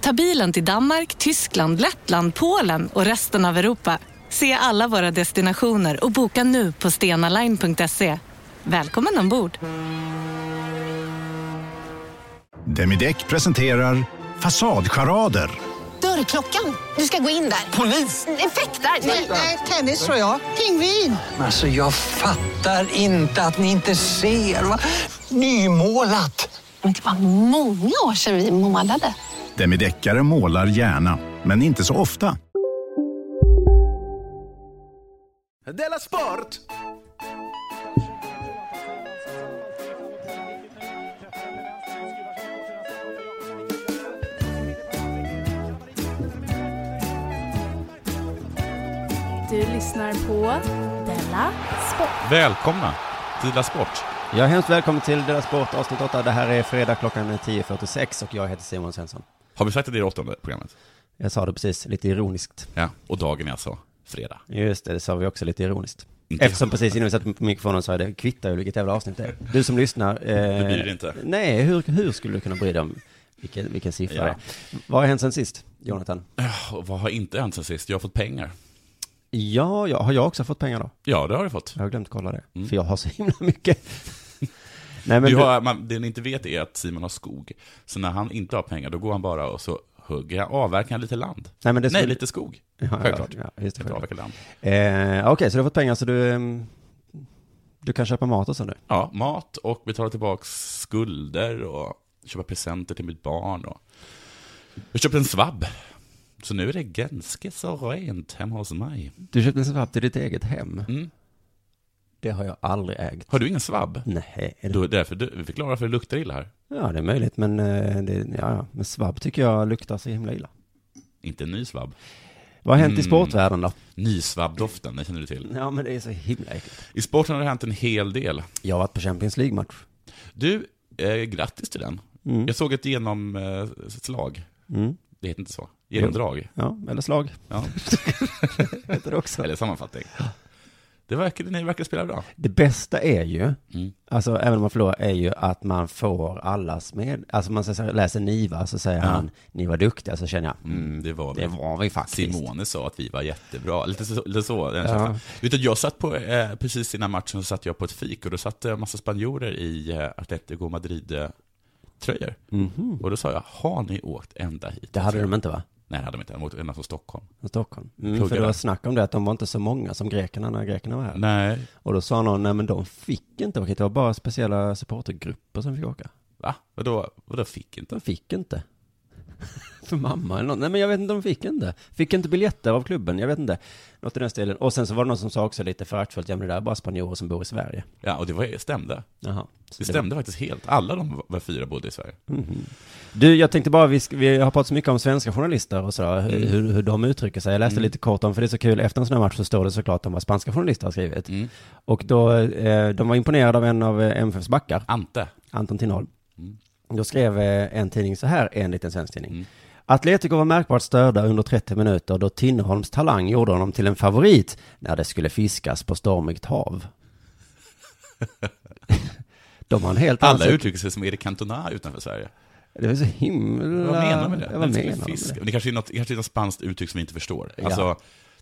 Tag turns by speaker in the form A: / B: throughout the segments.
A: Ta bilen till Danmark, Tyskland, Lettland, Polen och resten av Europa. Se alla våra destinationer och boka nu på stenaline.se. Välkommen ombord!
B: Demideck presenterar Fasadcharader.
C: Dörrklockan. Du ska gå in där. Polis? Effektar? Nej, tennis tror jag. Pingvin.
D: Alltså jag fattar inte att ni inte ser. Va? Nymålat!
C: Men det var många år sedan vi målade.
B: Demideckare målar gärna, men inte så ofta.
E: Della Sport!
F: Du lyssnar på Della Sport.
G: Välkomna till La Sport.
H: Jag är hemskt välkommen till Dela Sport avsnitt 8. Det här är fredag klockan är 10.46 och jag heter Simon Svensson.
G: Har vi sagt att det är det åttonde programmet?
H: Jag sa det precis lite ironiskt.
G: Ja. Och dagen är alltså fredag.
H: Just det, det sa vi också lite ironiskt. Eftersom precis innan vi satte på mikrofonen sa jag det kvittar ju vilket jävla avsnitt det är. Du som lyssnar. Eh,
G: bryr dig inte.
H: Nej, hur, hur skulle du kunna bry dig om vilken, vilken siffra
G: Ja.
H: det är? Vad har hänt sen sist, Jonathan?
G: Och vad har inte hänt sen sist? Jag har fått pengar.
H: Ja, ja, har jag också fått pengar då?
G: Ja, det har du fått.
H: Jag har glömt kolla det, för jag har så himla mycket. nej, men
G: Mm. Du har, man, det ni inte vet är att Simon har skog. Så när han inte har pengar, då går han bara och så hugger han, avverkar han lite land.
H: Nej, men det
G: Nej,
H: skulle-
G: lite skog.
H: Ja, ja,
G: Självklart.
H: ja, just det,
G: Inte
H: självklart.
G: avverka land.
H: Eh, Okej, så du har fått pengar så du, ehm, du kan köpa mat och så nu?
G: Ja, mat och betala tillbaka skulder och köpa presenter till mitt barn. Och... Jag köpte en svabb. Så nu är det ganska så rent hemma hos mig.
H: Du köpte en svapp till ditt eget hem?
G: Mm.
H: Det har jag aldrig ägt.
G: Har du ingen svabb?
H: Nej. är det-
G: Då är det därför du, vi förklarar varför det luktar illa här.
H: Ja, det är möjligt, men, eh, det, ja, ja. men svabb tycker jag luktar så himla illa.
G: Inte en ny svabb.
H: Vad har hänt i
G: Mm.
H: sportvärlden då?
G: Nysvabbdoften, den känner du till.
H: Ja, men det är så himla äckligt.
G: I sporten har det hänt en hel del.
H: Jag har varit på Champions League-match.
G: Du, eh, grattis till den.
H: Mm.
G: Jag såg ett genomslag.
H: Mm.
G: Det heter inte så. Genomdrag.
H: Ja, eller slag.
G: Ja.
H: Heter det, också.
G: Eller sammanfattning. Det verkar, ni verkar spela bra.
H: det bästa är ju,
G: Mm.
H: alltså även om man förlorar, är ju att man får allas med. Alltså man så- så- läser Niva, så säger han, ni var duktiga, så känner jag,
G: Mm, det var vi.
H: det var vi faktiskt.
G: Simone sa att vi var jättebra. Lite så, lite så den känslan. Vet du, jag satt på, eh, precis innan matchen så satt jag på ett fik och då satt det en massa spanjorer i eh, Atletico Madrid-tröjor.
H: Mhm.
G: Och då sa jag, har ni åkt ända hit?
H: Det hade de inte va?
G: Nej, det hade de inte. De åkte ända från Stockholm.
H: Från Stockholm. Mm,
G: Plugga
H: för det
G: där.
H: var snack om det, att de var inte så många som grekerna när grekerna var här.
G: Nej.
H: Och då sa någon, nej men de fick inte åka hit, det var bara speciella supportergrupper som fick åka.
G: Va? Vadå, vadå fick inte?
H: De fick inte. För mamma eller något. Nej men jag vet inte, de fick inte. Fick inte biljetter av klubben, jag vet inte. Något i den stilen. Och sen så var det någon som sa också lite föraktfullt, ja men det där är bara spanjorer som bor i Sverige.
G: Ja, och det var, stämde.
H: Jaha.
G: Det stämde Mm. faktiskt helt. Alla de var fyra bodde i Sverige.
H: Du, jag tänkte bara, vi, sk- vi har pratat så mycket om svenska journalister och sådär,
G: Mm.
H: hur, hur, hur de uttrycker sig. Jag läste lite kort om, för det är så kul, efter en sån här match så står det såklart om vad spanska journalister har skrivit.
G: Mm.
H: Och då, eh, de var imponerade av en av eh, MFFs backar.
G: Ante.
H: Anton Tinholm.
G: Mm.
H: Då skrev eh, en tidning så här, enligt en svensk tidning. Atletico var märkbart störda under 30 minuter då Tinholms talang gjorde honom till en favorit när det skulle fiskas på stormigt hav. De har en helt annan
G: Alla
H: syn-
G: uttrycker sig som Erik Cantona utanför Sverige.
H: Det var så himla...
G: Vad menar de Mm. med det?
H: Ja,
G: Den
H: Vad
G: skulle
H: menar de med
G: fiska.
H: det?
G: Men Det kanske är något, kanske är något spanskt uttryck som vi inte förstår.
H: Ja.
G: Alltså,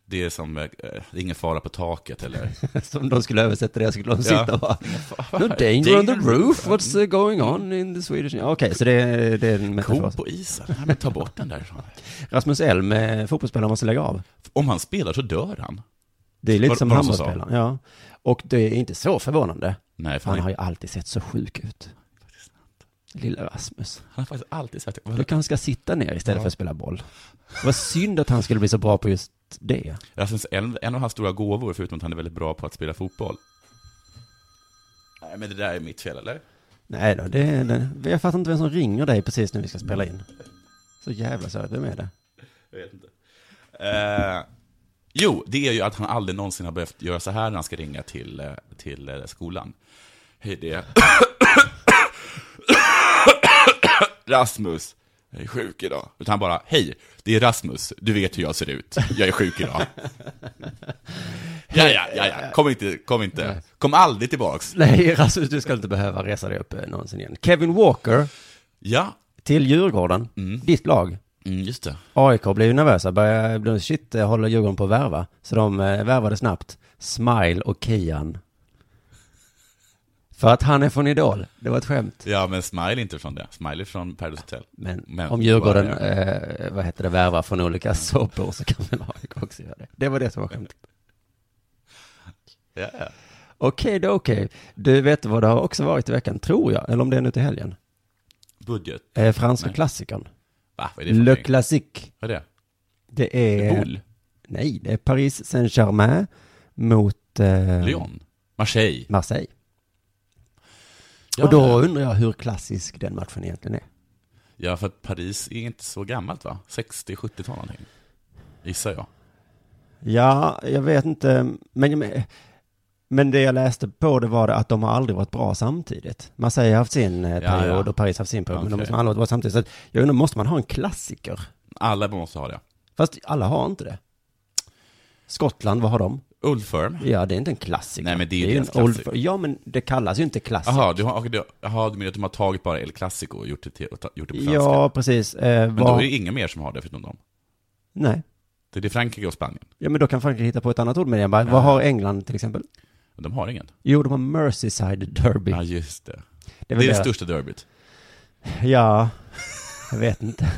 G: det är som, eh, det är ingen fara på taket eller...
H: Som de skulle översätta det, skulle
G: Ja.
H: de sitta och bara... No danger on the roof, what's eh, going on in the Swedish... Ja, Okej, så det, är- det är en
G: Ko
H: metafor.
G: på isen? Nej, men ta bort den därifrån.
H: Rasmus Elm, eh, fotbollsspelaren, måste lägga av.
G: Om han spelar så dör han.
H: Det är lite
G: Var-
H: som
G: var det som sa?
H: handbollsspelaren, ja. Och det är inte så förvånande.
G: Nej,
H: För
G: för
H: han
G: han,
H: har ju alltid sett så sjuk ut. Lilla Rasmus.
G: han har faktiskt alltid sagt
H: Du kanske ska sitta ner istället för att spela boll. Vad synd att han skulle bli så bra på just det.
G: Rasmus, en, en av hans stora gåvor, förutom att han är väldigt bra på att spela fotboll. Nej, men det där är mitt fel, eller?
H: Nej då, det, är- det, jag fattar inte vem som ringer dig precis när vi ska spela in. Så jävla söt, vem är det?
G: Jag vet inte. Eh, jo, det är ju att han aldrig någonsin har behövt göra så här när han ska ringa till, eh, till eh, skolan. Hej, det är... Rasmus. Jag är sjuk idag. Utan han bara, hej, det är Rasmus. Du vet hur jag ser ut. Jag är sjuk idag. ja, ja, ja, ja. Kom inte, kom inte. Kom aldrig tillbaks.
H: Nej, Rasmus, du ska inte behöva resa dig upp eh, någonsin igen. Kevin Walker
G: Ja,
H: till Djurgården, ditt lag.
G: mm, just det.
H: AIK blev ju nervösa, började, blev, shit, eh, håller Djurgården på att värva? Så de eh, värvade snabbt Smile och Kian. För att han är från Idol, det var ett skämt.
G: Ja, men Smile är inte från det. Smile är från Paradise Hotel.
H: Men,
G: Men-
H: om Djurgården, eh, vad heter det, värvar från olika såpor så kan väl AIK också göra det. Det var det som var skämtet.
G: Ja, ja.
H: Okej då, okej. Du vet vad det har också varit i veckan, tror jag, eller om det är nu till helgen.
G: Budget.
H: Eh, franska
G: Nej.
H: klassikern.
G: Va, vad är det för
H: Le Eh.
G: någonting?
H: Classique.
G: Vad är det?
H: Det är...
G: Boule?
H: Nej, det är Paris Saint-Germain mot... Eh,
G: Lyon? Marseille?
H: Marseille.
G: Ja,
H: och då undrar jag hur klassisk den matchen egentligen är.
G: Ja, för att Paris är inte så gammalt va? 60-70-tal någonting. Gissar jag.
H: Ja, jag vet inte, men, men det jag läste på det var det att de har aldrig varit bra samtidigt. Marseille har haft sin eh,
G: Ja, ja.
H: period och Paris har haft sin period, men de har
G: Okej.
H: liksom aldrig varit bra samtidigt. Så att jag undrar, måste man ha en klassiker?
G: Alla måste ha det.
H: Fast alla har inte det. Skottland, vad har de?
G: Old Firm?
H: Ja, det är inte en klassiker.
G: Nej, men det är ju
H: ju
G: deras
H: en old...
G: klassiker.
H: Ja, men det kallas ju inte klassiker.
G: Jaha, du har, okej, du, jaha, du menar att de har tagit bara El Clasico och gjort det, till, och ta- gjort det på svenska?
H: Ja, precis. Eh,
G: Men
H: vad-
G: då är det inga mer som har det förutom dem.
H: Nej.
G: Det är det Frankrike och Spanien.
H: Ja, men då kan Frankrike hitta på ett annat ord med det. Bara, Vad har England till exempel?
G: De har ingen.
H: Jo, de har Merseyside Derby.
G: Ja, just det.
H: det
G: Det
H: är
G: är,
H: väl
G: det
H: det.
G: största derbyt.
H: Ja, jag vet inte.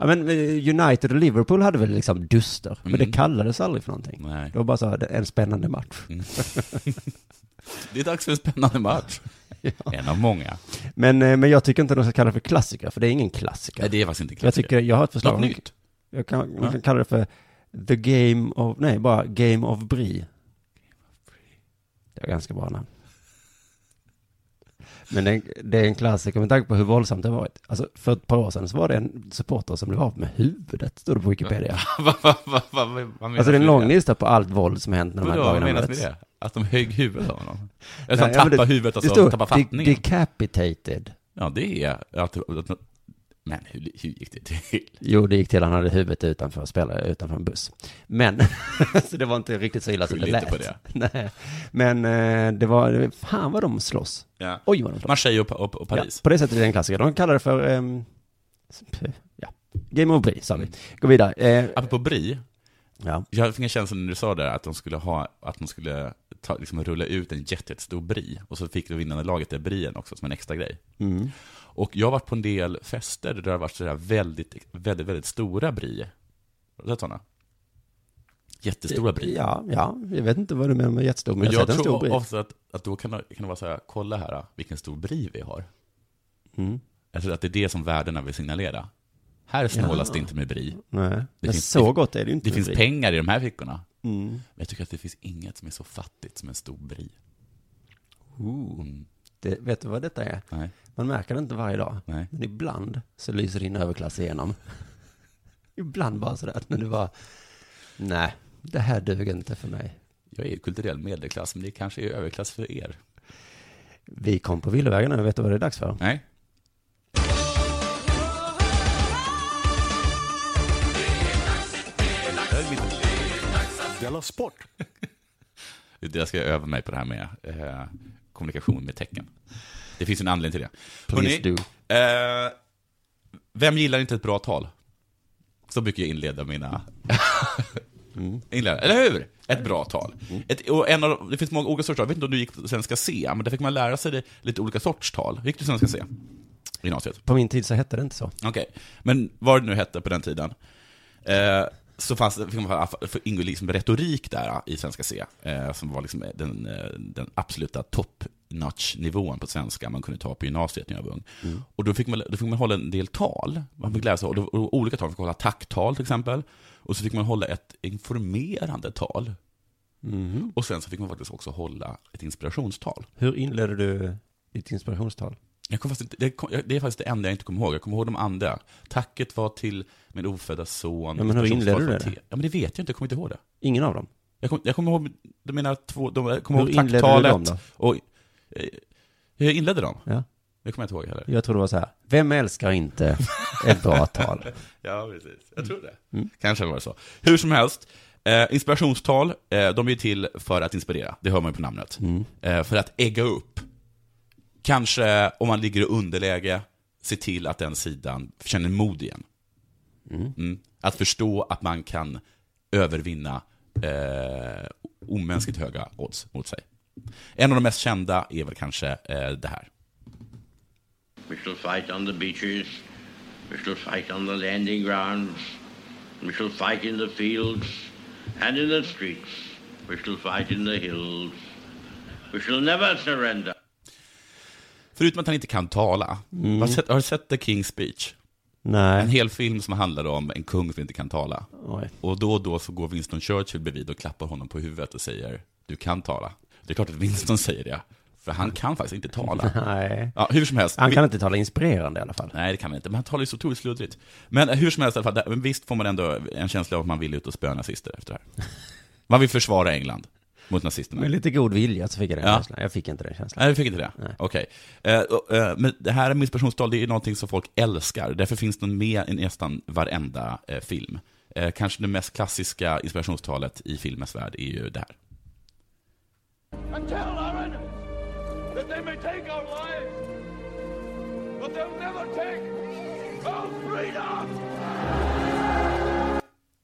H: Ja, men eh, United och Liverpool hade väl liksom duster, men
G: Mm.
H: det kallades aldrig för någonting.
G: Nej.
H: Det var bara så här, en spännande match.
G: Mm. Det är dags för en spännande match. En av många.
H: Men, eh, men jag tycker inte de ska kalla det för klassiker, för det är ingen klassiker.
G: Nej, det är faktiskt inte en
H: jag
G: klassiker.
H: tycker, jag har ett förslag.
G: Något
H: Man-
G: nytt.
H: Jag kan, man
G: Ja.
H: kan kalla det för The Game of, nej, bara Game of Brie. Det är ganska bra namn. Men det, det är en klassiker med tanke på hur våldsamt det har varit. Alltså, för ett par år sedan så var det en supporter som blev av med huvudet, stod det på Wikipedia.
G: Vad- vad- vad- vad- vad menas
H: Alltså det är en
G: med
H: lång lista på allt våld som hänt när de här
G: Vadå, vad
H: dagarna
G: menas med
H: möts.
G: det? Att de högg huvudet av honom? Eller
H: Nej,
G: att
H: ja,
G: han
H: men det-
G: tappar huvudet,
H: det
G: alltså
H: står
G: han tappar fattningen?
H: de- Decapitated.
G: Ja, det är att... att, att men hur, hur gick det till?
H: Jo, det gick till han hade huvudet utanför, spelare utanför en buss. Men, så det var inte riktigt så illa som det
G: Skyll inte
H: lät.
G: på det.
H: Nej. Men eh, det var, fan vad de slåss.
G: Ja.
H: Oj vad de slåss.
G: Marseille och, Pa- och, och Paris.
H: Ja, på det sättet är det en klassiker. De kallar det för, ehm, p- ja, Game of Brie, sa vi. Gå vidare. Eh,
G: Apropå Bri,
H: ja.
G: jag fick en känsla när du sa det, att de skulle, ha, att de skulle ta, liksom, rulla ut en jätte- jättestor Bri, och så fick det vinnande laget det Brien också, som en extra grej.
H: Mm.
G: Och jag har varit på en del fester där det har varit sådär väldigt, väldigt, väldigt stora Bri. Har du sett sådana? Jättestora Bri.
H: Ja, ja, jag vet inte vad du menar med jättestor, men
G: Men
H: jag,
G: jag
H: jag har sett en
G: tror
H: stor brie.
G: ofta att, att då kan det, kan det vara så här, kolla här vilken stor bri vi har.
H: Mm.
G: Jag tror att det är det som värdena vill signalera. Här snålas det inte med bri.
H: Nej, men
G: finns-
H: så
G: det-
H: gott är det ju inte
G: Det
H: med
G: finns
H: brie.
G: pengar i de här fickorna.
H: Mm.
G: Men jag tycker att det finns inget som är så fattigt som en stor bri. Mm.
H: Det, vet du vad detta är?
G: Nej,
H: Man märker det inte varje dag.
G: nej.
H: Men ibland så lyser din överklass igenom. ibland bara sådär, när du bara, nej, det här duger inte för mig.
G: Jag är ju kulturell medelklass, men det kanske är överklass för er.
H: Vi kom på villovägarna nu, vet du vad det är dags för?
G: Nej.
E: Della Sport!
G: Det- Jag ska öva mig på det här med eh, kommunikation med tecken. Det finns en anledning till det.
H: Please
G: Hörrni, Eh, vem gillar inte ett bra tal? Så brukar jag inleda mina... inleda, eller hur? Ett bra tal. Ett, och en av, de- det finns många olika sorters tal. Jag vet inte om du gick på Svenska C, men där fick man lära sig det, lite olika sorts tal. Gick du Svenska C? I Gymnasiet?
H: På min tid så hette det inte så.
G: Okej. Men vad det nu hette på den tiden, eh, så fanns det, fick man, för ingår liksom retorik där eh, i Svenska C, eh, som var liksom den, eh, den absoluta topp notch-nivån på svenska man kunde ta på gymnasiet när jag var ung. Och då fick, man, då fick man hålla en del tal. Man fick lära sig och då, och olika tal, man fick hålla tacktal till exempel. Och så fick man hålla ett informerande tal. Och sen så fick man faktiskt också hålla ett inspirationstal.
H: Hur inledde du ditt inspirationstal?
G: Jag kommer faktiskt, inte- det, kom, det är faktiskt det enda jag inte kommer ihåg. Jag kommer ihåg de andra. Tacket var till min ofödda son.
H: Ja, men hur
G: Personen som
H: inleder
G: var
H: du
G: från
H: det?
G: T- Ja, men det vet jag inte. Jag kommer inte ihåg det.
H: Ingen av dem?
G: Jag kommer, jag kommer ihåg de mina två, de, jag kommer
H: Hur
G: ihåg
H: inledde du
G: tacktalet.
H: dem då?
G: och, eh, jag inledde dem.
H: Ja.
G: Det kommer jag inte ihåg heller.
H: Jag tror det var så här, vem älskar inte ett bra tal?
G: Ja, precis. Jag tror det. Kanske var det så. Hur som helst, eh, inspirationstal, eh, de är ju till för att inspirera. Det hör man ju på namnet. Eh, för att ägga upp. Kanske, om man ligger i underläge, se till att den sidan känner mod igen. Mm. Att förstå att man kan övervinna eh, omänskligt höga odds mot sig. En av de mest kända är väl kanske eh, det här.
I: We shall fight on the beaches. We shall fight on the landing grounds. We shall fight in the fields and in the streets. We shall fight in the hills. We shall never surrender.
G: Förutom att han inte kan tala. Har, du sett, har du sett The King's Speech? En
H: Nej.
G: hel film som handlar om en kung som inte kan tala.
H: Oj.
G: Och då och då så går Winston Churchill bredvid och klappar honom på huvudet och säger du kan tala. Det är klart att Winston säger det, för han kan faktiskt inte tala.
H: Nej.
G: Ja, hur som helst.
H: Han
G: vi-
H: kan inte tala inspirerande i alla fall.
G: Nej, det kan han inte, men han talar ju så otroligt sluddrigt. Men eh, hur som helst, i alla fall, där- men visst får man ändå en känsla av att man vill ut och spöa nazister efter det här. Man vill försvara England mot nazisterna.
H: Med lite god vilja så fick jag den
G: Ja.
H: känslan. Jag fick inte den känslan.
G: Nej, vi fick inte det. Okej. Eh, och, eh, men det här med inspirationstal, det är någonting som folk älskar. Därför finns den med i nästan varenda eh, film. Eh, kanske det mest klassiska inspirationstalet i filmens värld är ju det här.
I: And tell our enemies that they may take our lives, but they'll never take our freedom!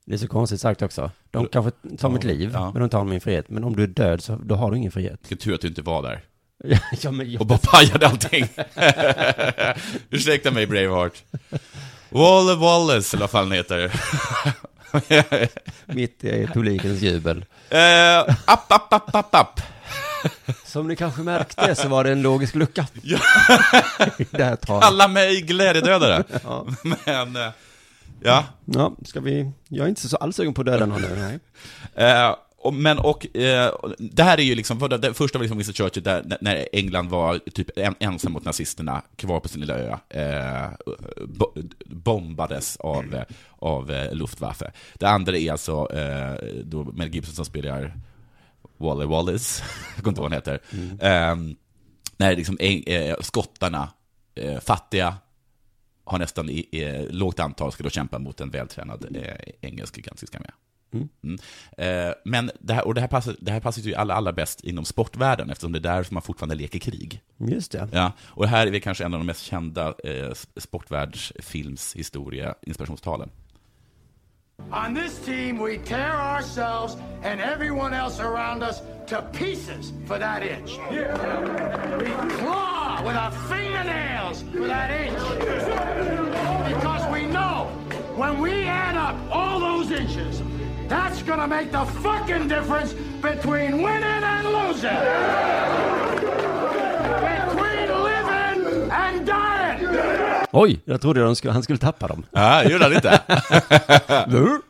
H: Det är så konstigt sagt också. De kanske tar mitt liv,
G: Ja.
H: men de tar min frihet. Men om du är död så då har du ingen frihet.
G: Vilken tur att du inte var där
H: ja, men
G: och
H: jag...
G: bara pajade allting. Ursäkta mig, Braveheart. Walle Wallace, eller vad fan han heter.
H: Mitt i publikens jubel.
G: eh, app, app, app, app, app.
H: Som ni kanske märkte så var det en logisk lucka.
G: Ja.
H: I det här talet.
G: Kalla mig glädjedödare.
H: Ja.
G: Men, eh, ja.
H: ja, ska vi... Jag är inte så alls sugen på att döda någon nu. Nej.
G: Eh, och, men och, eh, det här är ju liksom, vad det, det första var liksom Winston Churchill, där, när- när England var typ en, ensam mot nazisterna, kvar på sin lilla ö, eh, bo, bombades av, eh, av eh, Luftwaffe. Det andra är alltså eh, då Mel Gibson som spelar Wally Wallace, jag kommer inte ihåg vad han heter. Eh, när liksom eng, eh, skottarna, eh, fattiga, har nästan i, i, lågt antal, ska då kämpa mot en vältränad eh, engelsk gigantisk armé. Mm. Eh, men det här, och det här passar, det här passar ju allra, allra bäst inom sportvärlden, eftersom det är där som man fortfarande leker krig.
H: Just det.
G: Ja, och här är vi kanske en av de mest kända eh, sportvärldsfilmshistoria, inspirationstalen.
I: On this team, we tear ourselves and everyone else around us to pieces for that inch. We claw with our fingernails for that inch. Because we know when we add up all those inches, that's gonna make the fucking difference between winning and losing. Between living and dying.
H: Oj, jag trodde de skulle, han skulle tappa dem.
G: Ja, det gjorde han inte.
H: Nu?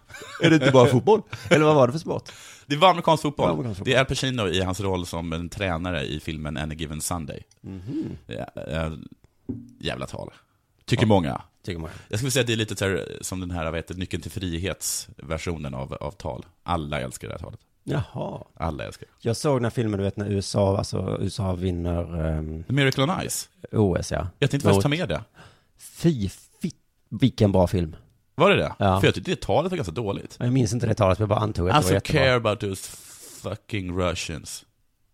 H: Är det inte bara fotboll? Eller vad var det för sport?
G: Det var amerikansk fotboll.
H: Det var amerikansk fotboll.
G: Det är Al Pacino i hans roll som en tränare i filmen Any Given Sunday. Ja, eh, jävla tal. Tycker många.
H: Tycker man.
G: Jag skulle säga att det är lite så här, som den här, vad heter det, Nyckeln till frihetsversionen av, av tal. Alla älskar det här talet.
H: Jaha.
G: Alla älskar det.
H: Jag såg den här filmen, du vet, när USA, alltså USA vinner ehm,
G: The Miracle on Ice.
H: OS, ja.
G: Jag tänkte faktiskt
H: Mot-
G: ta med det.
H: Fy, fi, vilken bra film.
G: Var det det?
H: Ja.
G: För jag tyckte det talet var ganska dåligt.
H: Jag minns inte det talet, men jag bara antog att
G: I
H: det var
G: don't
H: jättebra.
G: Alltså, care about those fucking Russians.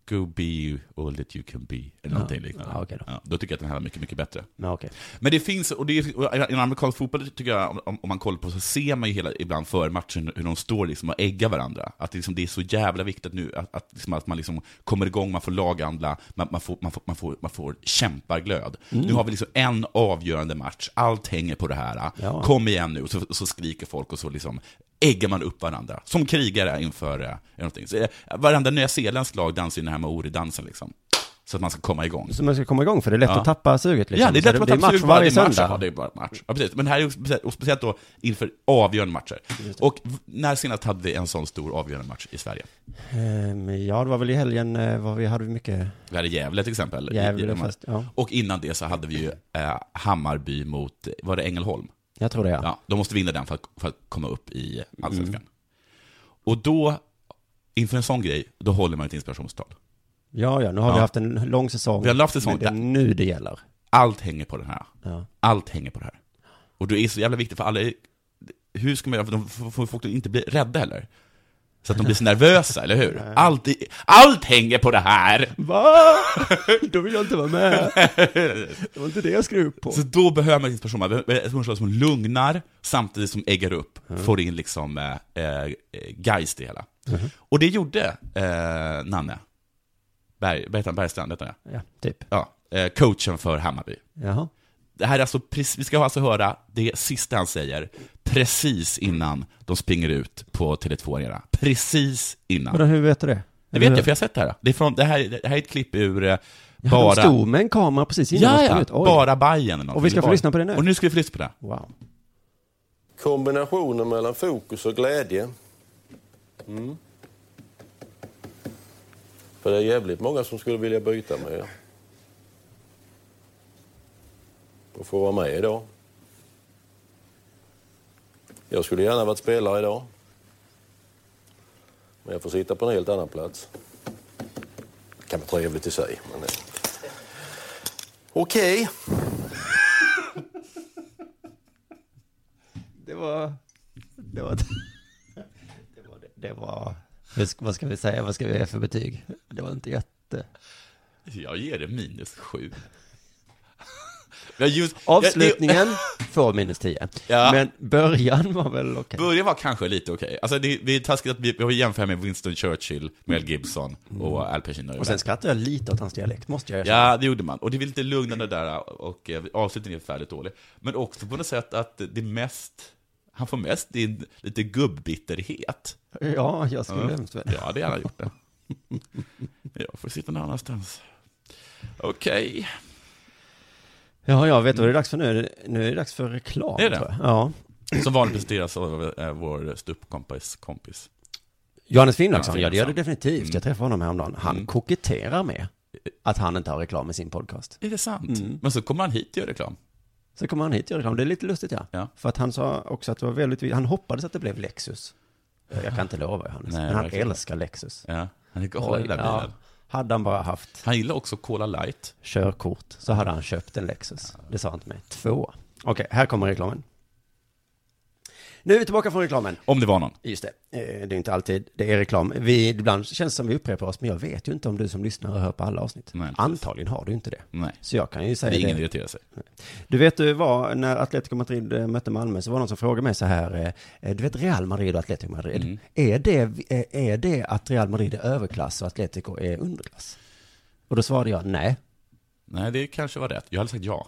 G: Go be you all that you can be. Eller någonting liknande.
H: Ja, okej då.
G: Ja, då tycker jag att den här var mycket, mycket bättre.
H: Ja, okej.
G: Men det finns, och det är, och i amerikansk fotboll tycker jag, om, om man kollar på så ser man ju hela, ibland före matchen hur de står liksom och äggar varandra. Att det, liksom, det är så jävla viktigt att nu, att, att, liksom, att man liksom kommer igång, man får lagandla, man, man, får, man, får, man, får, man får kämparglöd.
H: Mm.
G: Nu har vi liksom en avgörande match, allt hänger på det här.
H: Ja.
G: Kom igen nu, så, så skriker folk och så liksom äggar man upp varandra. Som krigare inför eh, någonting. Så, eh, varenda nyzeeländsk lag dansar ju den här Maori-dansen liksom. Så att man ska komma igång.
H: Så man ska komma igång för det är lätt att tappa suget liksom.
G: Ja, det är
H: Så
G: lätt att
H: blir
G: man tappar
H: match
G: sugen varje
H: varje
G: match.
H: söndag.
G: Ja, det är bara match. Ja, precis. Men det här är ju speciellt, och speciellt då inför avgörande matcher. Och v- när senast hade vi en sån stor avgörande match i Sverige?
H: Ehm, ja, det var väl i helgen, eh, vad vi hade vi mycket?
G: Vi hade Gävle till exempel. i- i
H: Gävle,
G: de här-
H: fast- ja.
G: Och innan det så hade vi ju eh, Hammarby mot, var det Ängelholm?
H: Jag tror det, ja. Mm.
G: Ja, de måste vinna den för att, för att komma upp i allsvenskan. Och då, inför en sån grej, då håller man ett inspirationstal.
H: Ja, ja, nu har
G: Ja.
H: vi haft en lång säsong.
G: Vi har haft säsong
H: Men Det är
G: där.
H: nu det gäller.
G: Allt hänger på den här.
H: Ja.
G: Allt hänger på det här. Och det är så jävla viktigt för alla. är- Hur ska man göra? För de får får folk inte bli rädda heller. Så att de blir så nervösa, eller hur? Allt, i- allt hänger på det här!
H: Va? Då vill jag inte vara med. Det var inte det jag skrev upp på.
G: Så då behöver man inspiration. Man behöver ett inspiration som lugnar, samtidigt som äggar upp. Får in liksom eh, eh, geist i hela. Och det gjorde eh, Nanne. Berg, vad heter han? Bergstrand, heter han ja.
H: Ja, typ.
G: ja. Eh, coachen för Hammarby.
H: Jaha.
G: Det här är alltså, precis- vi ska alltså höra det sista han säger, precis innan de springer ut på Tele2 Arena. Precis innan.
H: Vadå, hur vet du det?
G: Det vet jag, för jag har sett det här. Det, är från, det, här det här är ett klipp ur eh,
H: Bara... De
G: Bara...
H: stod med en kamera precis innan de
G: ja,
H: sprang
G: ja,
H: ut. Oj.
G: bara Bajen eller
H: Och vi ska
G: någonting.
H: få lyssna på det nu.
G: Och nu ska vi få lyssna på det.
H: Wow.
J: Kombinationen mellan fokus och glädje. Mm. För det är jävligt många som skulle vilja byta med er. Och få vara med idag. Jag skulle gärna varit spelare idag. Men jag får sitta på en helt annan plats. Det kan vara trevligt i sig. Men... eh. Okej.
H: Det var... Det var... Det var... Det var... Hur ska- Vad ska vi säga? Vad ska vi ge för betyg? Det var inte jätte...
G: Jag ger det minus sju. Jag just,
H: Avslutningen får minus 10.
G: Ja.
H: Men början var väl okej.
G: Början var kanske lite okej. Alltså det, det är taskigt att vi, vi jämför med Winston Churchill, Mel Gibson och Al Pacino.
H: Och sen skrattade jag lite åt hans dialekt, måste jag erkänna.
G: Ja, det gjorde man. Och det är lite lugnande där och eh, avslutningen är förfärligt dålig. Men också på något sätt att det mest, han får mest in lite gubbbitterhet.
H: Ja, jag skulle hemskt väl.
G: Ja, det har han gjort det. Jag får sitta någon annanstans. Okej.
H: Ja, jag vet du vad det är dags för nu. Nu är det dags för reklam,
G: Mm. Är det?
H: tror jag. Ja.
G: Som vanligt presenteras av eh, vår ståuppkompis kompis.
H: Johannes Finnlaugsson,
G: Johannes
H: ja det gör det
G: Finnlaugsson.
H: definitivt. Jag träffade honom häromdagen. Han
G: Mm.
H: koketterar med att han inte har reklam i sin podcast.
G: Är det sant?
H: Mm.
G: Men så kommer han hit och gör reklam.
H: Så kommer han hit och gör reklam. Det är lite lustigt ja.
G: Ja.
H: För att han sa också att det var väldigt, han hoppades att det blev Lexus. Jag kan inte lova Johannes,
G: Nej,
H: men han
G: verkligen.
H: älskar Lexus.
G: Ja. Han är galen i den där
H: ja.
G: bilen.
H: Hade han bara haft
G: Han gillar också Cola Light.
H: körkort så hade han köpt en Lexus. Det sa han till mig. Två. Okej, här kommer reklamen. Nu är vi tillbaka från reklamen.
G: Om det var någon.
H: Just det. Eh, Det är inte alltid det är reklam. Vi, ibland känns det som vi upprepar oss, men jag vet ju inte om du som lyssnare hör på alla avsnitt.
G: Nej, precis.
H: Antagligen har du inte det.
G: Nej.
H: Så jag kan ju
G: Det
H: säga
G: är ingen
H: det.
G: irriterar sig.
H: Du vet du vad, när Atletico Madrid eh, mötte Malmö så var det någon som frågade mig så här, eh, du vet Real Madrid och Atletico Madrid,
G: Mm.
H: är, det, eh, är det att Real Madrid är överklass och Atletico är underklass? Och då svarade jag nej.
G: Nej, det kanske var rätt. Jag hade sagt ja.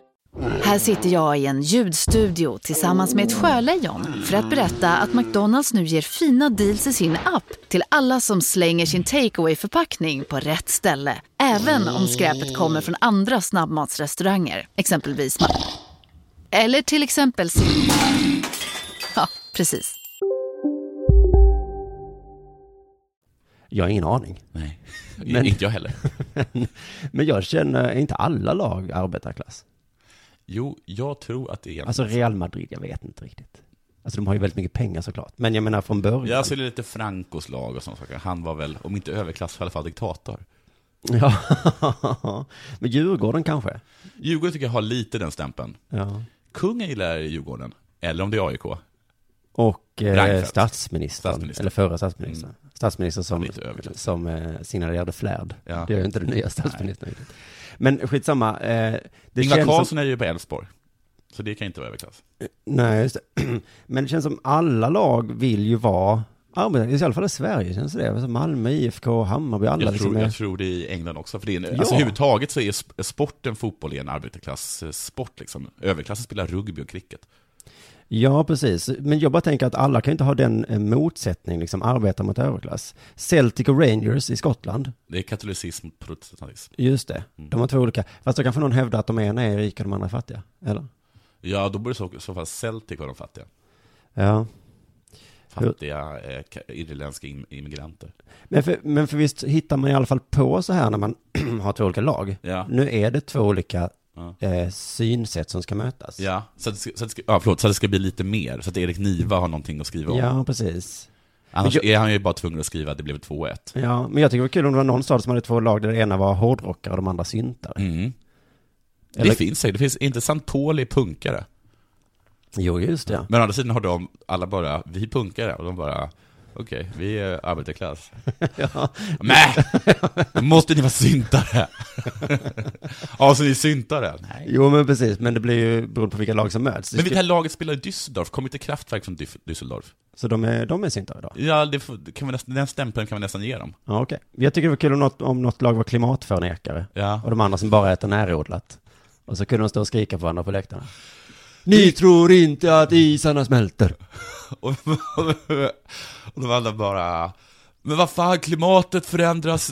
K: Här sitter jag i en ljudstudio tillsammans med ett sjölejon för att berätta att McDonalds nu ger fina deals i sin app till alla som slänger sin takeaway förpackning på rätt ställe. Även om skräpet kommer från andra snabbmatsrestauranger, exempelvis Ma- Eller till exempel Sil- Ja, precis.
H: Jag har ingen aning.
G: Nej,
H: Men-
G: inte jag heller.
H: Men jag känner, är inte alla lag arbetarklass?
G: Jo, jag tror att det är...
H: Alltså Real Madrid, jag vet inte riktigt. Alltså de har ju väldigt mycket pengar såklart. Men jag menar från början.
G: Ja, alltså det är lite Francos lag och sånt saker. Han var väl, om inte överklass, i alla fall diktator.
H: Ja. Men Djurgården kanske?
G: Djurgården tycker jag har lite den stämpeln.
H: Ja.
G: Kungen gillar Djurgården, eller om det är AIK.
H: och eh,
G: Reinfeldt. Mm.
H: statsministern, eller förra statsministern. Statsministern som, som eh, signalerade flärd.
G: Ja.
H: Det är ju inte den nya statsministern. riktigt. Men skitsamma. Eh, det
G: Ingvar
H: känns
G: Carlsson
H: som,
G: är ju på Elfsborg. Så det kan inte vara överklass.
H: Nej, just det. Men det känns som alla lag vill ju vara arbetare, i alla fall i Sverige känns det. Alltså Malmö, IFK, Hammarby, alla
G: Jag
H: liksom
G: tror,
H: är-
G: jag tror det är i England också. För det är en,
H: Ja.
G: alltså, överhuvudtaget så är sp- sporten fotboll är en arbetarklasssport. Liksom. Överklassen spelar rugby och cricket.
H: Ja, precis. Men jag bara tänker att alla kan ju inte ha den eh, motsättning, liksom arbetare mot överklass. Celtic och Rangers i Skottland,
G: Det är katolicism mot protestantism.
H: just det.
G: Mm.
H: De har två olika. Fast då kanske någon hävdar att de ena är rika och de andra är fattiga, eller?
G: Ja, då borde i så, i så fall Celtic vara de fattiga.
H: Ja.
G: Fattiga eh, ka- irländska im- immigranter.
H: Men för, men för visst hittar man i alla fall på så här när man har två olika lag.
G: Ja.
H: Nu är det två olika
G: Ja.
H: eh, synsätt som ska mötas.
G: Ja, så att, det ska- så, att, det ska- ja, förlåt, så att det ska bli lite mer. Så att Erik Niva har någonting att skriva om.
H: Ja, precis.
G: Annars
H: Men
G: är han ju bara tvungen att skriva att det blev 2-1.
H: Ja, men jag tycker det var kul om det var någon stad som hade två lag där det ena var hårdrockare och de andra syntare. Eller-
G: Mm. Det finns ju. Det finns inte Santoli punkare.
H: Jo, just det.
G: Men å andra sidan har de alla bara, vi punkare, och de bara, okej, vi är arbetarklass.
H: Ja.
G: Nej, då måste ni vara syntare. ja, så ni är syntare. Nej.
H: Jo, men precis. Men det blir ju beroende på vilka lag som möts. Det
G: Men
H: ska-
G: det här laget spelar i Düsseldorf, kommer inte Kraftwerk från Düf- Düsseldorf?
H: Så de är, de är syntare idag?
G: Ja, det får, det kan vi nästan, den stämpeln kan vi nästan ge dem.
H: Ja, okej. Jag tycker det var kul om något, om något lag var klimatförnekare.
G: Ja.
H: Och de andra som bara äter närodlat. Och så kunde de stå och skrika på varandra på läktarna. Ni tror inte att isarna smälter.
G: Och, och de andra bara, men vad fan, klimatet förändras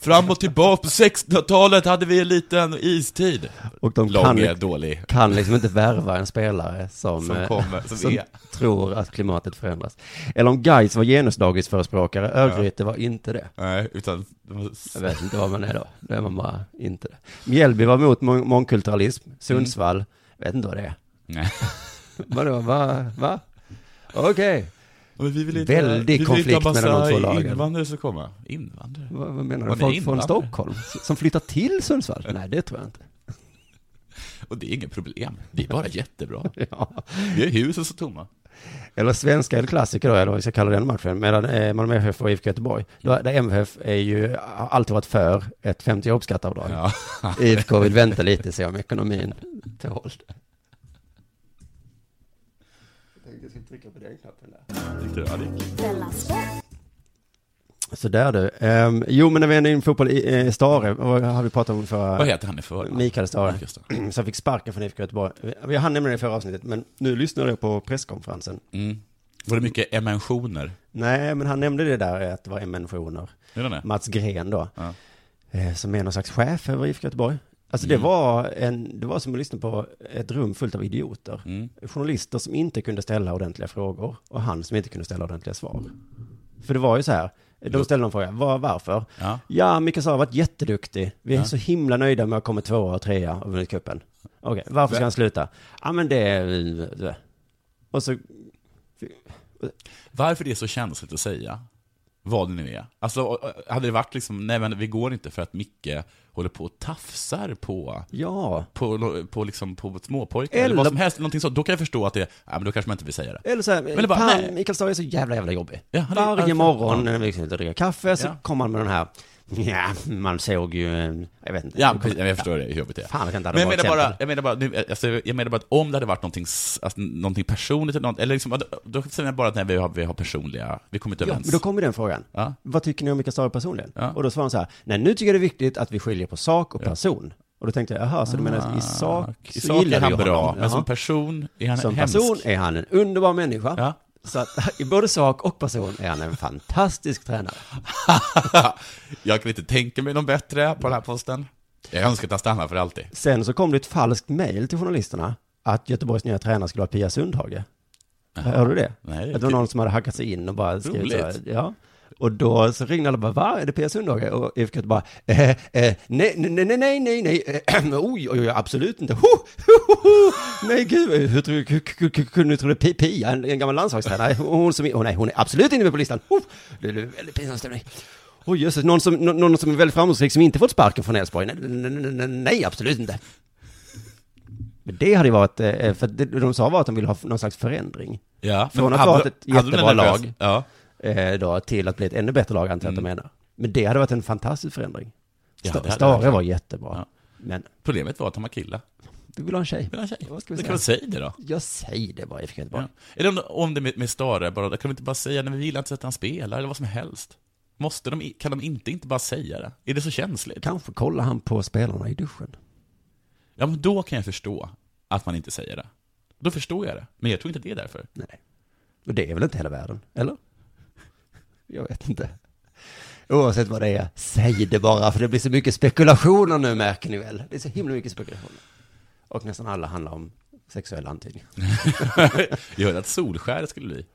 G: fram och tillbaka. På 1600-talet hade vi en liten istid.
H: Och de
G: Lång
H: kan,
G: är dålig.
H: kan liksom inte värva en spelare som,
G: Som
H: eh,
G: kommer, som är.
H: tror att klimatet förändras. Eller om Gais var genusdagisförespråkare, Örgryte var inte det.
G: Nej, utan...
H: Jag vet inte vad man är då. Då är man bara inte det. Mjällby var emot mång- mångkulturalism.
G: Mm.
H: Sundsvall, jag vet inte vad det är.
G: Nej.
H: Vadå, va? va? Okej.
G: Men vi vill inte,
H: Väldig
G: vi vill
H: konflikt
G: inte ha massa
H: mellan de två lagen.
G: invandrare som kommer. Invandrare?
H: Vad, vad menar
G: Var
H: du?
G: ni
H: Folk från
G: invandrare?
H: Stockholm? Som flyttar till Sundsvall? Nej, det tror jag inte.
G: Och det är inget problem. Det är bara jättebra.
H: ja.
G: Vi har husen så tomma.
H: Eller svenska El Clasico då, eller vad vi ska kalla den matchen, mellan eh, Malmö FF och IFK Göteborg. Då, där MFF är ju, har alltid varit för ett femte jobbskatteavdrag.
G: Ja.
H: IFK vill vänta lite, se om ekonomin tål det.
G: Tyckte du? Ja, det gick.
F: Della Sport.
H: Så där du. Ehm, jo, men när vi är inne i fotboll, i, eh, Stare, vad har vi pratat om förra?
G: Vad heter han i förnamn?
H: Mikael Stare,
G: Mikael
H: som fick sparken från IFK Göteborg. Vi- Vi hann nämna det i förra avsnittet, men nu lyssnade jag på presskonferensen.
G: Mm. Var det mycket emensioner?
H: Nej, men han nämnde det där att det var emensioner.
G: Gjorde han det?
H: Mats Gren då,
G: Ja.
H: eh, som är någon slags chef över IFK Göteborg. Alltså det,
G: Mm.
H: var en, det var som att lyssna på ett rum fullt av idioter.
G: Mm.
H: Journalister som inte kunde ställa ordentliga frågor och han som inte kunde ställa ordentliga svar. För det var ju så här, de ställde en fråga, var, varför?
G: Ja.
H: Ja, Mikael Sara har varit jätteduktig. Vi är
G: Ja.
H: så himla nöjda med att komma tvåa och trea och vunnit cupen. Okej, varför
G: Va-
H: ska han sluta? Ja, men det... är- Och så...
G: Varför det är så känsligt att säga, vad det nu är. Alltså, hade det varit liksom, nej men vi går inte för att Micke håller på och tafsar på
H: Ja.
G: på, på, liksom, på småpojkar
H: Eller-
G: eller vad som helst, någonting sånt, då kan jag förstå att det, ja men då kanske man inte vill säga det.
H: Eller så här,
G: Eller bara,
H: fan,
G: nej.
H: Mikael Stare är så jävla, jävla jobbig.
G: han är-
H: Varje
G: han-
H: morgon
G: ja.
H: när vi liksom inte dricker kaffe så
G: Ja.
H: kommer han med den här, ja, man såg ju, en- jag vet inte.
G: Ja, precis, jag förstår det, hur jobbigt det är.
H: Fan, jag kan inte ha
G: Men jag
H: några
G: menar, bara,
H: exempel.
G: jag, menar bara, nu, alltså, jag menar bara att om det hade varit någonting, s- alltså, någonting personligt, eller, något, eller liksom, då- då säger jag bara att nej, vi, har, vi har personliga, vi kommer inte
H: Ja,
G: överens.
H: men då kommer den frågan.
G: Ja.
H: Vad tycker ni om Mikael Stare personligen?
G: Ja.
H: Och då svarar han så här, nej nu tycker jag det är viktigt att vi skiljer på sak och person. Och då tänkte jag, jaha, så du menar att i sak,
G: Ah, I
H: så
G: sak
H: gillar
G: är
H: vi
G: han bra,
H: honom.
G: men som
H: Jaha.
G: person är han
H: Som
G: hemsk.
H: person är han en underbar människa.
G: Ja.
H: Så att, i både sak och person är han en fantastisk tränare.
G: jag kan inte tänka mig någon bättre på den här posten. Jag önskar att han stannar för alltid.
H: Sen så kom det ett falskt mejl till journalisterna att Göteborgs nya tränare skulle vara Pia Sundhage. Hörde du det?
G: Nej, det är
H: att det var
G: kul.
H: någon som hade hackat sig in och bara skrivit så här,
G: Roligt.
H: ja. Och då så ringde alla bara, va, är det Pia Sundhage? Och IFK bara, eh, eh, nej, nej, nej, nej, nej, nej, eh, oj, oj, oj, absolut inte, ho, ho, ho, ho. nej gud, hur tror- hur- hur- hur kunde du tro det? Pi- Pia, en en gammal landslagstränare, hon som, är- åh nej, hon är absolut inte med på listan, ho, det är väldigt pinsam stämning. Oj, jösses, någon som, nå- någon som är väldigt framgångsrik som inte fått sparken från Elfsborg? Nej, nej, nej, nej, nej, absolut inte. Men det hade ju varit, eh, för det de sa var att de ville ha någon slags förändring.
G: Ja,
H: Från
G: men
H: att
G: hade-
H: varit ett
G: hade de
H: jättebra
G: den
H: lag,
G: lös- ja.
H: eh, då, till att bli ett ännu bättre lag antar jag att de menar. Men det hade varit en fantastisk förändring.
G: Mm. Ja,
H: Sta-
G: det hade
H: Stare
G: varit.
H: var jättebra. Men
G: Problemet var att han var kille.
H: du vill ha en tjej.
G: Vill ha en tjej?
H: Vad ska vi
G: Det
H: säga?
G: kan man säga det då.
H: Jag säger det bara, jag fick inte bara.
G: Ja. Eller om, om det med, med Stare, bara, då kan vi inte bara säga, nej, men vi gillar inte att han spelar, eller vad som helst. Måste de, i- kan de inte, inte bara säga det? Är det så känsligt?
H: Kanske kollar han på spelarna i duschen.
G: Ja, men då kan jag förstå att man inte säger det. Då förstår jag det. Men jag tror inte det är därför.
H: Nej. Och det är väl inte hela världen, eller? Jag vet inte. Oavsett vad det är, säg det bara, för det blir så mycket spekulationer nu märker ni väl. Det är så himla mycket spekulationer. Och nästan alla handlar om sexuella antydningar.
G: jag hörde att Solskär skulle bli.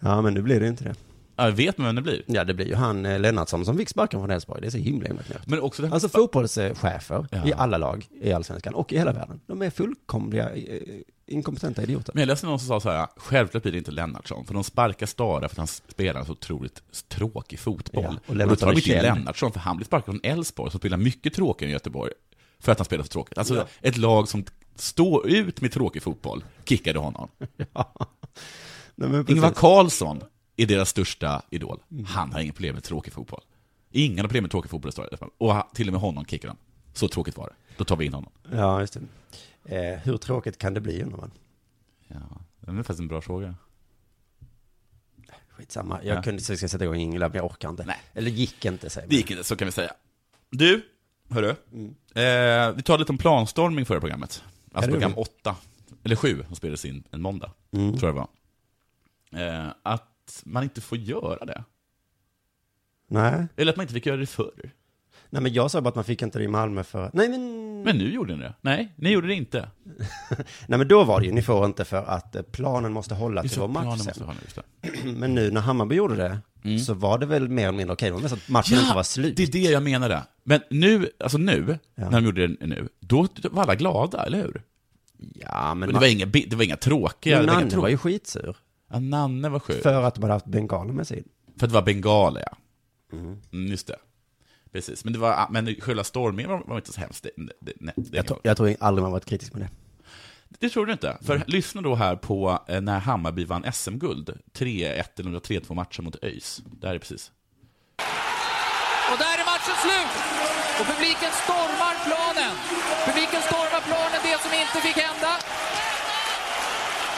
H: Ja, men nu blir det ju inte det.
G: Ja, vet man vem det blir?
H: Ja, det blir ju han eh, Lennartsson som fick sparken från Elfsborg. Det är så himla himla knäppt.
G: Men också den-
H: Alltså fotbollschefer
G: Ja.
H: i alla lag i allsvenskan och i hela världen. De är fullkomliga eh, inkompetenta idioter.
G: Men jag läste någon som sa så här, självklart blir det inte Lennartsson, för de sparkar Stara för att han spelar en så otroligt tråkig fotboll.
H: Ja, och
G: och då
H: Lennartsson
G: tar de
H: är
G: inte in
H: känd.
G: Lennartsson, för han blir sparkad från Elfsborg, som spelar mycket tråkigare än Göteborg, för att han spelar så tråkigt. Alltså, ett lag som står ut med tråkig fotboll kickade honom.
H: Nej, men precis.
G: Ingvar Carlsson är deras största idol. Han har inga problem med tråkig fotboll. Ingen har problem med tråkig fotboll i Stara. Och han- till och med honom kickar de. Så tråkigt var det. Då tar vi in honom.
H: Ja, just det. Eh, hur tråkigt kan det bli undrar man?
G: Ja, det är faktiskt en bra fråga.
H: Skitsamma, jag
G: Ja.
H: kunde så jag ska sätta igång Ingela, men jag orkar inte. Eller gick inte säger man.
G: Det gick inte, så kan vi säga. Du, hörru. Eh, vi talade lite om planstormning förra programmet.
H: Ja, det
G: Alltså program
H: gjorde
G: 8, eller 7, som spelades in en måndag.
H: Mm.
G: Tror jag det var. Eh, att man inte får göra det.
H: Nej.
G: Eller att man inte fick göra det förr.
H: Nej, men jag sa bara att man fick inte det i Malmö för... Nej, men...
G: Men nu gjorde ni det. Nej, ni gjorde det inte.
H: Nej, men då var det ju, ni får inte för att eh, planen måste hålla
G: Just
H: till
G: det,
H: vår match
G: planen
H: sen.
G: måste hålla, just
H: Men nu när Hammarby gjorde det, så var det väl mer eller mindre okej. Det var mest att matchen inte var slut.
G: det är det jag menade. Men nu, alltså nu, när de gjorde det nu, då var alla glada, eller hur?
H: Ja, men...
G: det, var inga, bi- det var inga tråkiga...
H: Men
G: det
H: Nanne
G: inga trå-
H: var ju skitsur.
G: Ja, Nanne var sjuk.
H: För att de hade haft bengaler med sig.
G: För att det var bengaler, ja. Mm, just det. Precis, men, det var, ah, men själva stormningen var, var inte så hemskt. Det, det, nej, det,
H: Jag, tror- jag tror aldrig man varit kritisk med det.
G: det tror du inte? För
H: Mm.
G: lyssna då här på eh, när Hammarby vann SM-guld. 3-1 eller om det var 3-2 matchen mot ÖIS. Det här är precis.
L: Och där är matchen slut! Och publiken stormar planen. Publiken stormar planen, det som inte fick hända.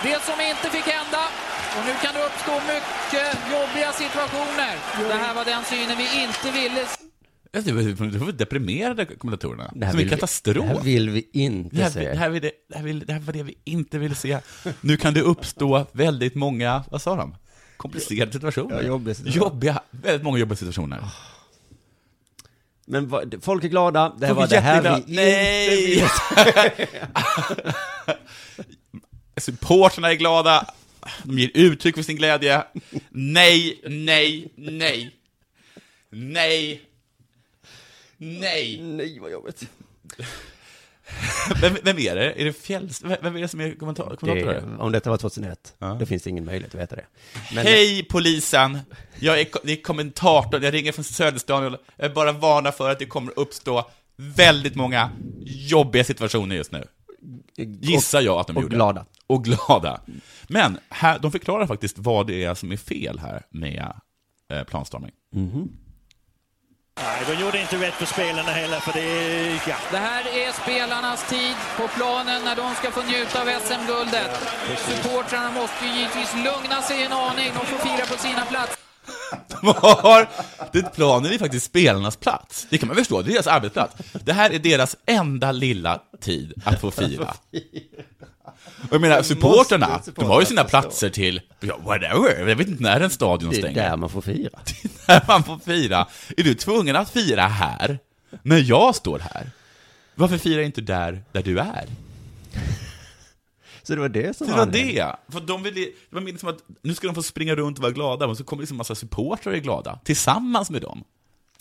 L: Det som inte fick hända. Och nu kan det uppstå mycket jobbiga situationer. Det här var den synen vi inte ville se.
G: Jag vet inte, De var deprimerade, kommentatorerna.
H: Det här
G: Som en
H: vill vi-
G: katastrof.
H: det här vill vi inte
G: det här,
H: se.
G: Det här, vill, det, här vill, det här var det vi inte ville se. Nu kan det uppstå väldigt många, vad sa de? Komplicerade situationer.
H: Ja, jobbiga situationer. Ah.
G: Jobbiga, väldigt många jobbiga situationer.
H: Men vad- folk är glada, det här
G: Folk
H: var
G: är
H: det här
G: jätteglada.
H: vi
G: Nej!
H: inte
G: Supporterna Alltså, är glada, de ger uttryck för sin glädje. Nej, nej, nej. Nej. Nej.
H: Nej, vad jobbigt.
G: Vem, vem är det? Är det Fjälls... Vem vem är det som är kommentator?
H: det,
G: kommentator?
H: om detta var 2001, då finns det ingen möjlighet att veta det. Men-
G: Hej polisen! Jag är, ko- det är kommentator, jag ringer från Söderstaden. Jag vill bara varnar för att det kommer uppstå väldigt många jobbiga situationer just nu. Gissar jag att de
H: och
G: gjorde.
H: glada.
G: Och glada. Men här, de förklarar faktiskt vad det är som är fel här med eh, planstormning. Mhm.
M: Nej, de gjorde inte rätt för spelarna heller, för det är... Ja.
L: Det här är spelarnas tid på planen när de ska få njuta av SM-guldet. Supportrarna måste ju givetvis lugna sig en aning. De får fira på sina platser.
G: De har, det planen är faktiskt spelarnas plats. Det kan man förstå, det är deras arbetsplats. Det här är deras enda lilla tid att få fira. Och jag menar, supporterna, de har ju sina platser till, ja, whatever, jag vet inte när en stadion
H: Det är
G: stänger.
H: där man får fira.
G: Det är där man får fira. Är du tvungen att fira här, när jag står här? Varför firar inte du där, där du är?
H: Så det var det som
G: Det var
H: anledningen.
G: det! För de ville, det var mer som att nu ska de få springa runt och vara glada, men så kommer liksom en massa supportrar och är glada, tillsammans med dem.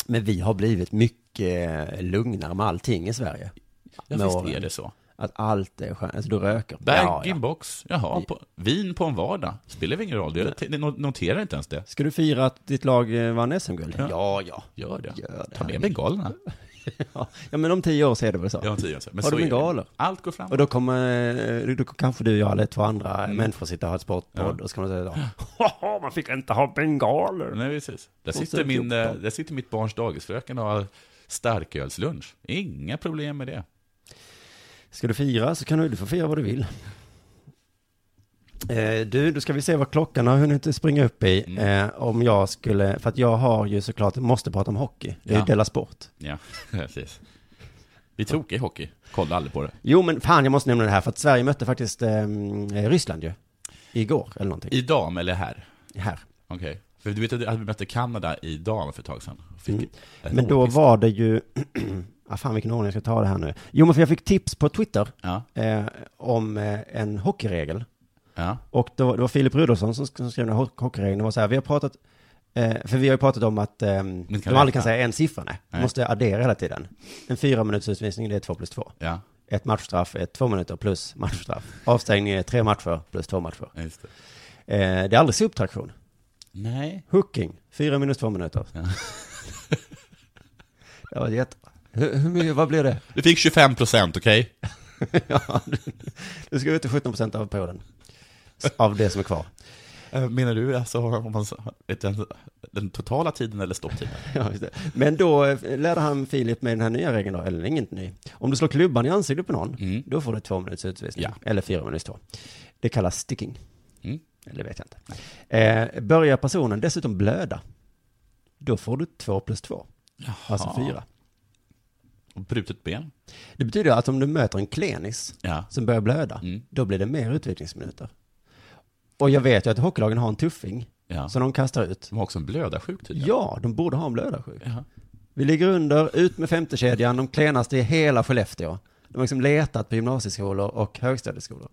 H: Men vi har blivit mycket eh, lugnare med allting i Sverige.
G: Ja,
H: Med
G: visst
H: åren.
G: är det så.
H: Att allt är skönt. Alltså du röker.
G: Bag
H: Ja, ja.
G: in box, jaha, på, vin på en vardag, spelar väl ingen roll, jag t- no- noterar inte ens det.
H: Ska du fira att ditt lag eh, vann SM-guld? Ja. ja,
G: Gör det.
H: Gör det.
G: Ta med bengalerna.
H: Ja, men om tio år så är det väl så?
G: Ja, om tio år så. Men
H: Har
G: så
H: de
G: är
H: inga
G: det.
H: galor?
G: Allt går framåt.
H: Och då kommer, eh, då kanske du och jag eller två andra
G: Mm.
H: människor sitter och har ett sportpodd
G: Ja.
H: och så kan man säga Haha, man fick inte ha bengaler.
G: Nej, precis. Där sitter, min, eh, där sitter mitt barns dagisfröken och har starkölslunch. Inga problem med det.
H: Ska du fira så kan du, du får fira vad du vill. Eh, du, då ska vi se vad klockan har hunnit springa upp i. Eh, om jag skulle, för att jag har ju såklart, måste prata om hockey. Det är ju
G: Ja.
H: Della Sport.
G: Ja, precis. Vi är tokiga i hockey. Kolla aldrig på det.
H: Jo men fan, jag måste nämna det här för att Sverige mötte faktiskt eh, Ryssland ju. Igår eller någonting.
G: I dam eller här?
H: Här.
G: Okej. För du vet att vi mötte Kanada i dam för ett tag sedan. Fick ett
H: Men då
G: hårpiss.
H: var det ju, ah, fan vilken ordning jag ska ta det här nu. Jo men för jag fick tips på Twitter eh, om eh, en hockeyregel. Och det var, det var Filip Rudolfsson som, sk- som skrev den här ho- hockeyregeln. Det var så här, vi har pratat, eh, för vi har ju pratat om att eh, de
G: kan
H: aldrig
G: räkna.
H: kan säga en siffra, nej. De
G: Nej.
H: måste addera hela tiden. En fyra minuters utvisning, det är två plus två.
G: Ja.
H: Ett matchstraff är två minuter plus matchstraff. Avstängning är tre matcher plus två matcher. det. Eh, det är aldrig subtraktion.
G: Nej.
H: Hooking, fyra minus två minuter. det var jätte... Hur, hur mycket, vad blev det?
G: Du fick 25 procent, okej?
H: ja, du, du ska ut till 17 procent av perioden. S- Av det som är kvar.
G: Eh, Menar du alltså om man, den, den totala tiden eller stopptiden?
H: Ja, just det. Men då eh, lärde han Filip med den här nya regeln då, eller inget ny. Om du slår klubban i ansiktet på någon, då får du två minuters utvisning. Eller fyra minus två. Det kallas sticking.
G: Mm.
H: Eller vet jag inte. Eh, börjar personen dessutom blöda, då får du två plus två. Alltså fyra.
G: Och brutet ben?
H: Det betyder att om du möter en klenis
G: Ja.
H: som börjar blöda,
G: Mm.
H: då blir det mer utvisningsminuter. Och jag vet ju att hockeylagen har en tuffing
G: Ja.
H: som de kastar ut.
G: De har också en blödarsjuk tydligen.
H: Ja, de borde ha en blödarsjuk. Vi ligger under, ut med femtekedjan, de klenaste i hela Skellefteå. De har liksom letat på gymnasieskolor och högstadieskolor.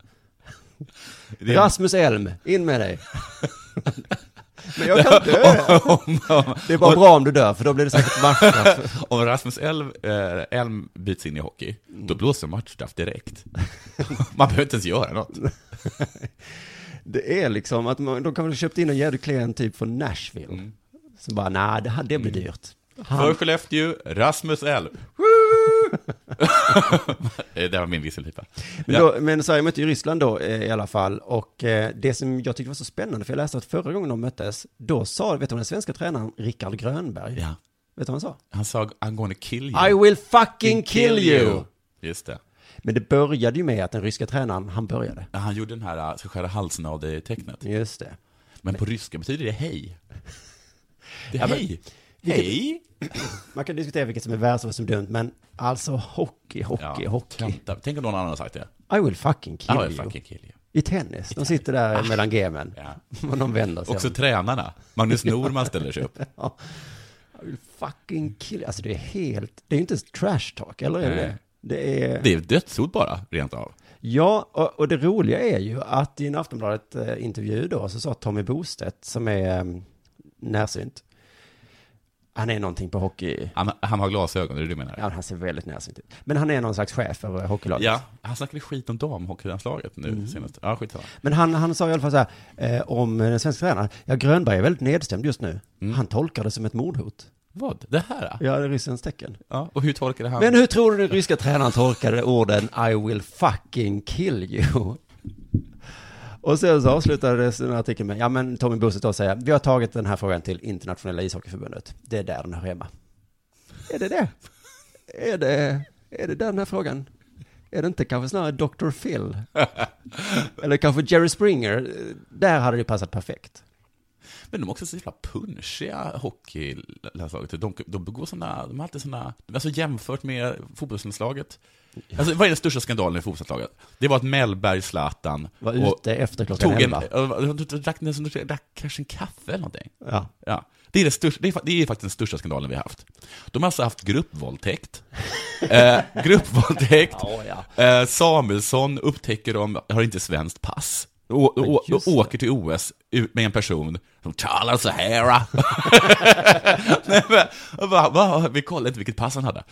G: Det är-
H: Rasmus Elm, in med dig. Men jag kan dö.
G: Om- om-
H: Det är bara
G: om-
H: bra om du dör, för då blir det säkert matchstraff.
G: Om Rasmus Elm, eh, Elm byts in i hockey, då
H: Mm.
G: blåser matchstraff direkt. Man behöver inte ens göra något.
H: Det är liksom att man, de kanske köpt in en jädrigt klen typ från Nashville.
G: Mm.
H: Så bara, nej, det, här- det blir dyrt.
G: För Skellefteå, Rasmus Elm. Eh, det var min visselpipa.
H: Men, då, men Sverige mötte ju Ryssland då eh, i alla fall. Och eh, det som jag tyckte var så spännande, för jag läste att förra gången de möttes, då sa, vet du vad den svenska tränaren Rickard Grönberg?
G: Ja.
H: Vet du vad han sa?
G: Han sa I'm gonna kill you.
H: I will fucking kill you!
G: Just det.
H: Men det började ju med att den ryska tränaren, han började.
G: Ja, Han gjorde den här eh, ska skära halsen av dig-tecknet.
H: Just det.
G: Men på ryska betyder det hej. Det är
H: Ja, men-
G: hej.
H: vilket-
G: Hej!
H: Man kan diskutera vilket som är värst och vad som är dumt, men alltså hockey, hockey, hockey.
G: Vänta, Tänk om någon annan har sagt det.
H: I will fucking kill
G: I will
H: you.
G: fucking kill you.
H: I tennis, de sitter där mellan gemen. Och de vänder sig
G: Också
H: om.
G: tränarna. Magnus Norman ställer sig upp.
H: Ja. I will fucking kill you. Alltså det är helt, det är ju inte ens trash talk, eller är det
G: Nej.
H: det? Det är...
G: Det är dödshot bara, rent av.
H: Ja, och, och det roliga är ju att i en Aftonbladet-intervju då så sa Tommy Bostedt, som är eh, närsynt, han är någonting på hockey,
G: Han, han har glasögon, det är det du menar?
H: ja, han ser väldigt närsynt ut, men han är någon slags chef över hockeylaget.
G: Ja, han snackade skit om damhockeylandslaget nu senast. Ja, skitsamma.
H: Men han, han sa i alla fall så här, eh, om den svenska tränaren, ja Grönberg är väldigt nedstämd just nu,
G: Mm.
H: han tolkar det som ett mordhot.
G: Vad? Det här?
H: Ja, det är ryssens tecken.
G: Ja, och hur tolkade han?
H: Men hur tror du den ryska tränaren tolkade orden I will fucking kill you? Och sen så avslutades den här artikeln med, ja men Tommy Bostedt då säger, vi har tagit den här frågan till internationella ishockeyförbundet. Det är där den hör hemma. Är det det? Är det, är det där den här frågan? Är det inte kanske snarare Dr. Phil? Eller kanske Jerry Springer? Där hade det passat perfekt.
G: Men de är också så jävla punschiga, hockeylandslaget. De, de begår sådana, de har alltid sådana, alltså jämfört med fotbollslandslaget. Alltså vad är den största skandalen i fotbollslandslaget? Det var att Mellberg, Zlatan...
H: Var
G: och-
H: ute efter klockan
G: tog en,
H: elva.
G: ja, de Drack, de drack kanske en kaffe eller någonting.
H: Ja.
G: ja. Det, är det, största, det, är, fa- det är faktiskt den största skandalen vi har haft. De har alltså haft gruppvåldtäkt. eh, gruppvåldtäkt.
H: Ja,
G: Eh, Samuelsson upptäcker de har inte svenskt pass. Och, och,
H: Ja, just
G: och åker till OS ut med en person som talar så här. Nej, men, och bara, va, vi kollade inte vilket pass han hade.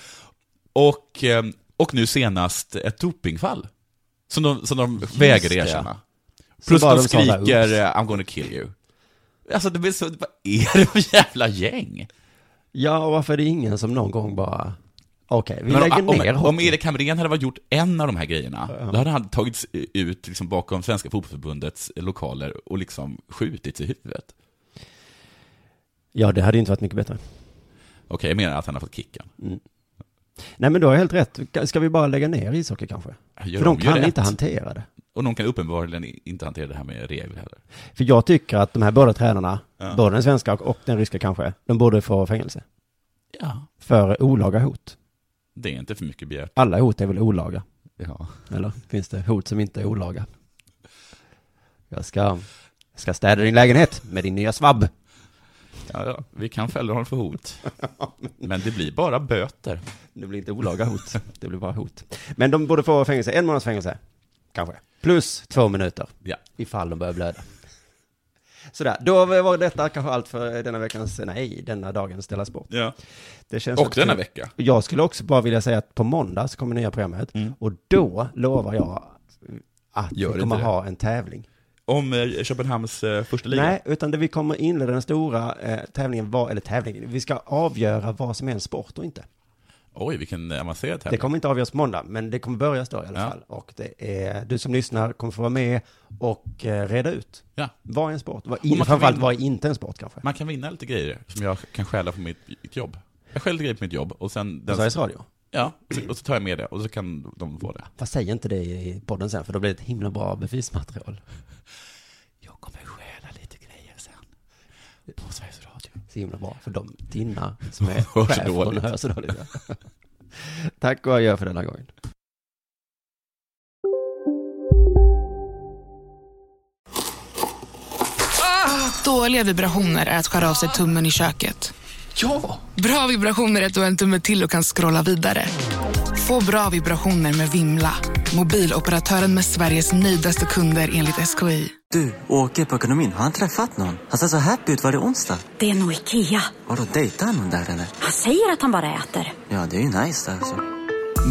G: Och, eh, och nu senast ett dopingfall. Som de, som de vägrar
H: det, ja.
G: erkänna.
H: Så
G: Plus
H: bara
G: de
H: de sa där,
G: skriker
H: "Oops."
G: eh, I'm gonna kill you. Alltså det blir så, vad är det för jävla gäng?
H: Ja, och varför är det ingen som någon gång bara, Okej, vi
G: Men
H: lägger
G: om,
H: ner
G: om,
H: hockey.
G: om Erik Hamrén hade varit gjort en av de här grejerna, då hade han tagits ut liksom bakom Svenska Fotbollförbundets lokaler och liksom skjutits i huvudet.
H: Ja, det hade ju inte varit mycket bättre.
G: Okej, jag menar att han har fått kicken.
H: Nej, men du har helt rätt. Ska vi bara lägga ner ishockey kanske?
G: Gör
H: För de
G: gör
H: kan
G: rätt.
H: inte hantera det.
G: Och de kan uppenbarligen inte hantera det här med regler heller.
H: För jag tycker att de här båda tränarna,
G: Ja.
H: både den svenska och, och den ryska kanske, de borde få fängelse.
G: Ja.
H: För olaga hot.
G: Det är inte för mycket begärt.
H: Alla hot är väl olaga?
G: Ja.
H: Eller finns det hot som inte är olaga? Jag ska, jag ska städa din lägenhet med din nya svabb.
G: Ja, ja, vi kan fälla honom för hot. Men det blir bara böter.
H: Det blir inte olaga hot, det blir bara hot. Men de borde få fängelse, en månads fängelse, kanske. Plus två minuter,
G: ja.
H: ifall de börjar blöda. Sådär, då var detta kanske allt för denna veckans, nej, denna dagens Della Sport.
G: Ja.
H: Det känns
G: Och
H: också
G: denna
H: kul.
G: vecka.
H: Jag skulle också bara vilja säga att på måndag så kommer nya programmet, och då lovar jag att
G: Mm. Gör
H: vi
G: inte
H: kommer
G: det.
H: ha en tävling.
G: Om eh, Köpenhamns eh, första liga.
H: Nej, utan det vi kommer inleda den stora eh, tävlingen, var, eller tävlingen, vi ska avgöra vad som är en sport och inte.
G: Oj, vilken eh, avancerad tävling.
H: Det kommer inte avgöras på måndag, men det kommer börjas då i alla fall. Och det är, du som lyssnar kommer få vara med och eh, reda ut.
G: Ja.
H: Vad är en sport? Vad,
G: Och man
H: in,
G: kan
H: framförallt,
G: vinna.
H: vad är inte en sport kanske?
G: Man kan vinna lite grejer som jag kan stjäla från mitt, mitt jobb. Jag stjäl grejer på mitt jobb och sen... Den,
H: Sveriges Radio?
G: Ja, så- och så tar jag med det och så kan de få det.
H: Fast säg inte det i podden sen, för då blir det ett himla bra bevismaterial.
G: Jag kommer stjäla lite grejer sen. På Sveriges Radio.
H: Så himla bra, för de, dina som är
G: Hör så
H: chef, de
G: dåligt.
H: hör så dåligt. ja. Tack och adjö för denna gången.
A: Dåliga vibrationer är att skära av sig tummen i köket. Ja! Bra vibrationer är att du har en tumme till och kan scrolla vidare. Få bra vibrationer med Vimla. Mobiloperatören med Sveriges nöjdaste kunder enligt SKI.
N: Du, åker på ekonomin. Har han träffat någon? Han ser så happy ut. Var det onsdag?
O: Det är nog Ikea.
N: Vadå, dejtar han någon där eller?
O: Han säger att han bara äter.
N: Ja, det är ju nice där alltså.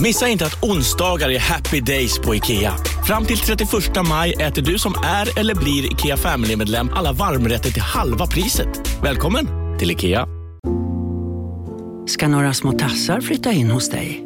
M: Missa inte att onsdagar är happy days på IKEA. Fram till 31 maj äter du som är eller blir IKEA Family-medlem alla varmrätter till halva priset. Välkommen till IKEA.
P: ska några små tassar flytta in hos dig.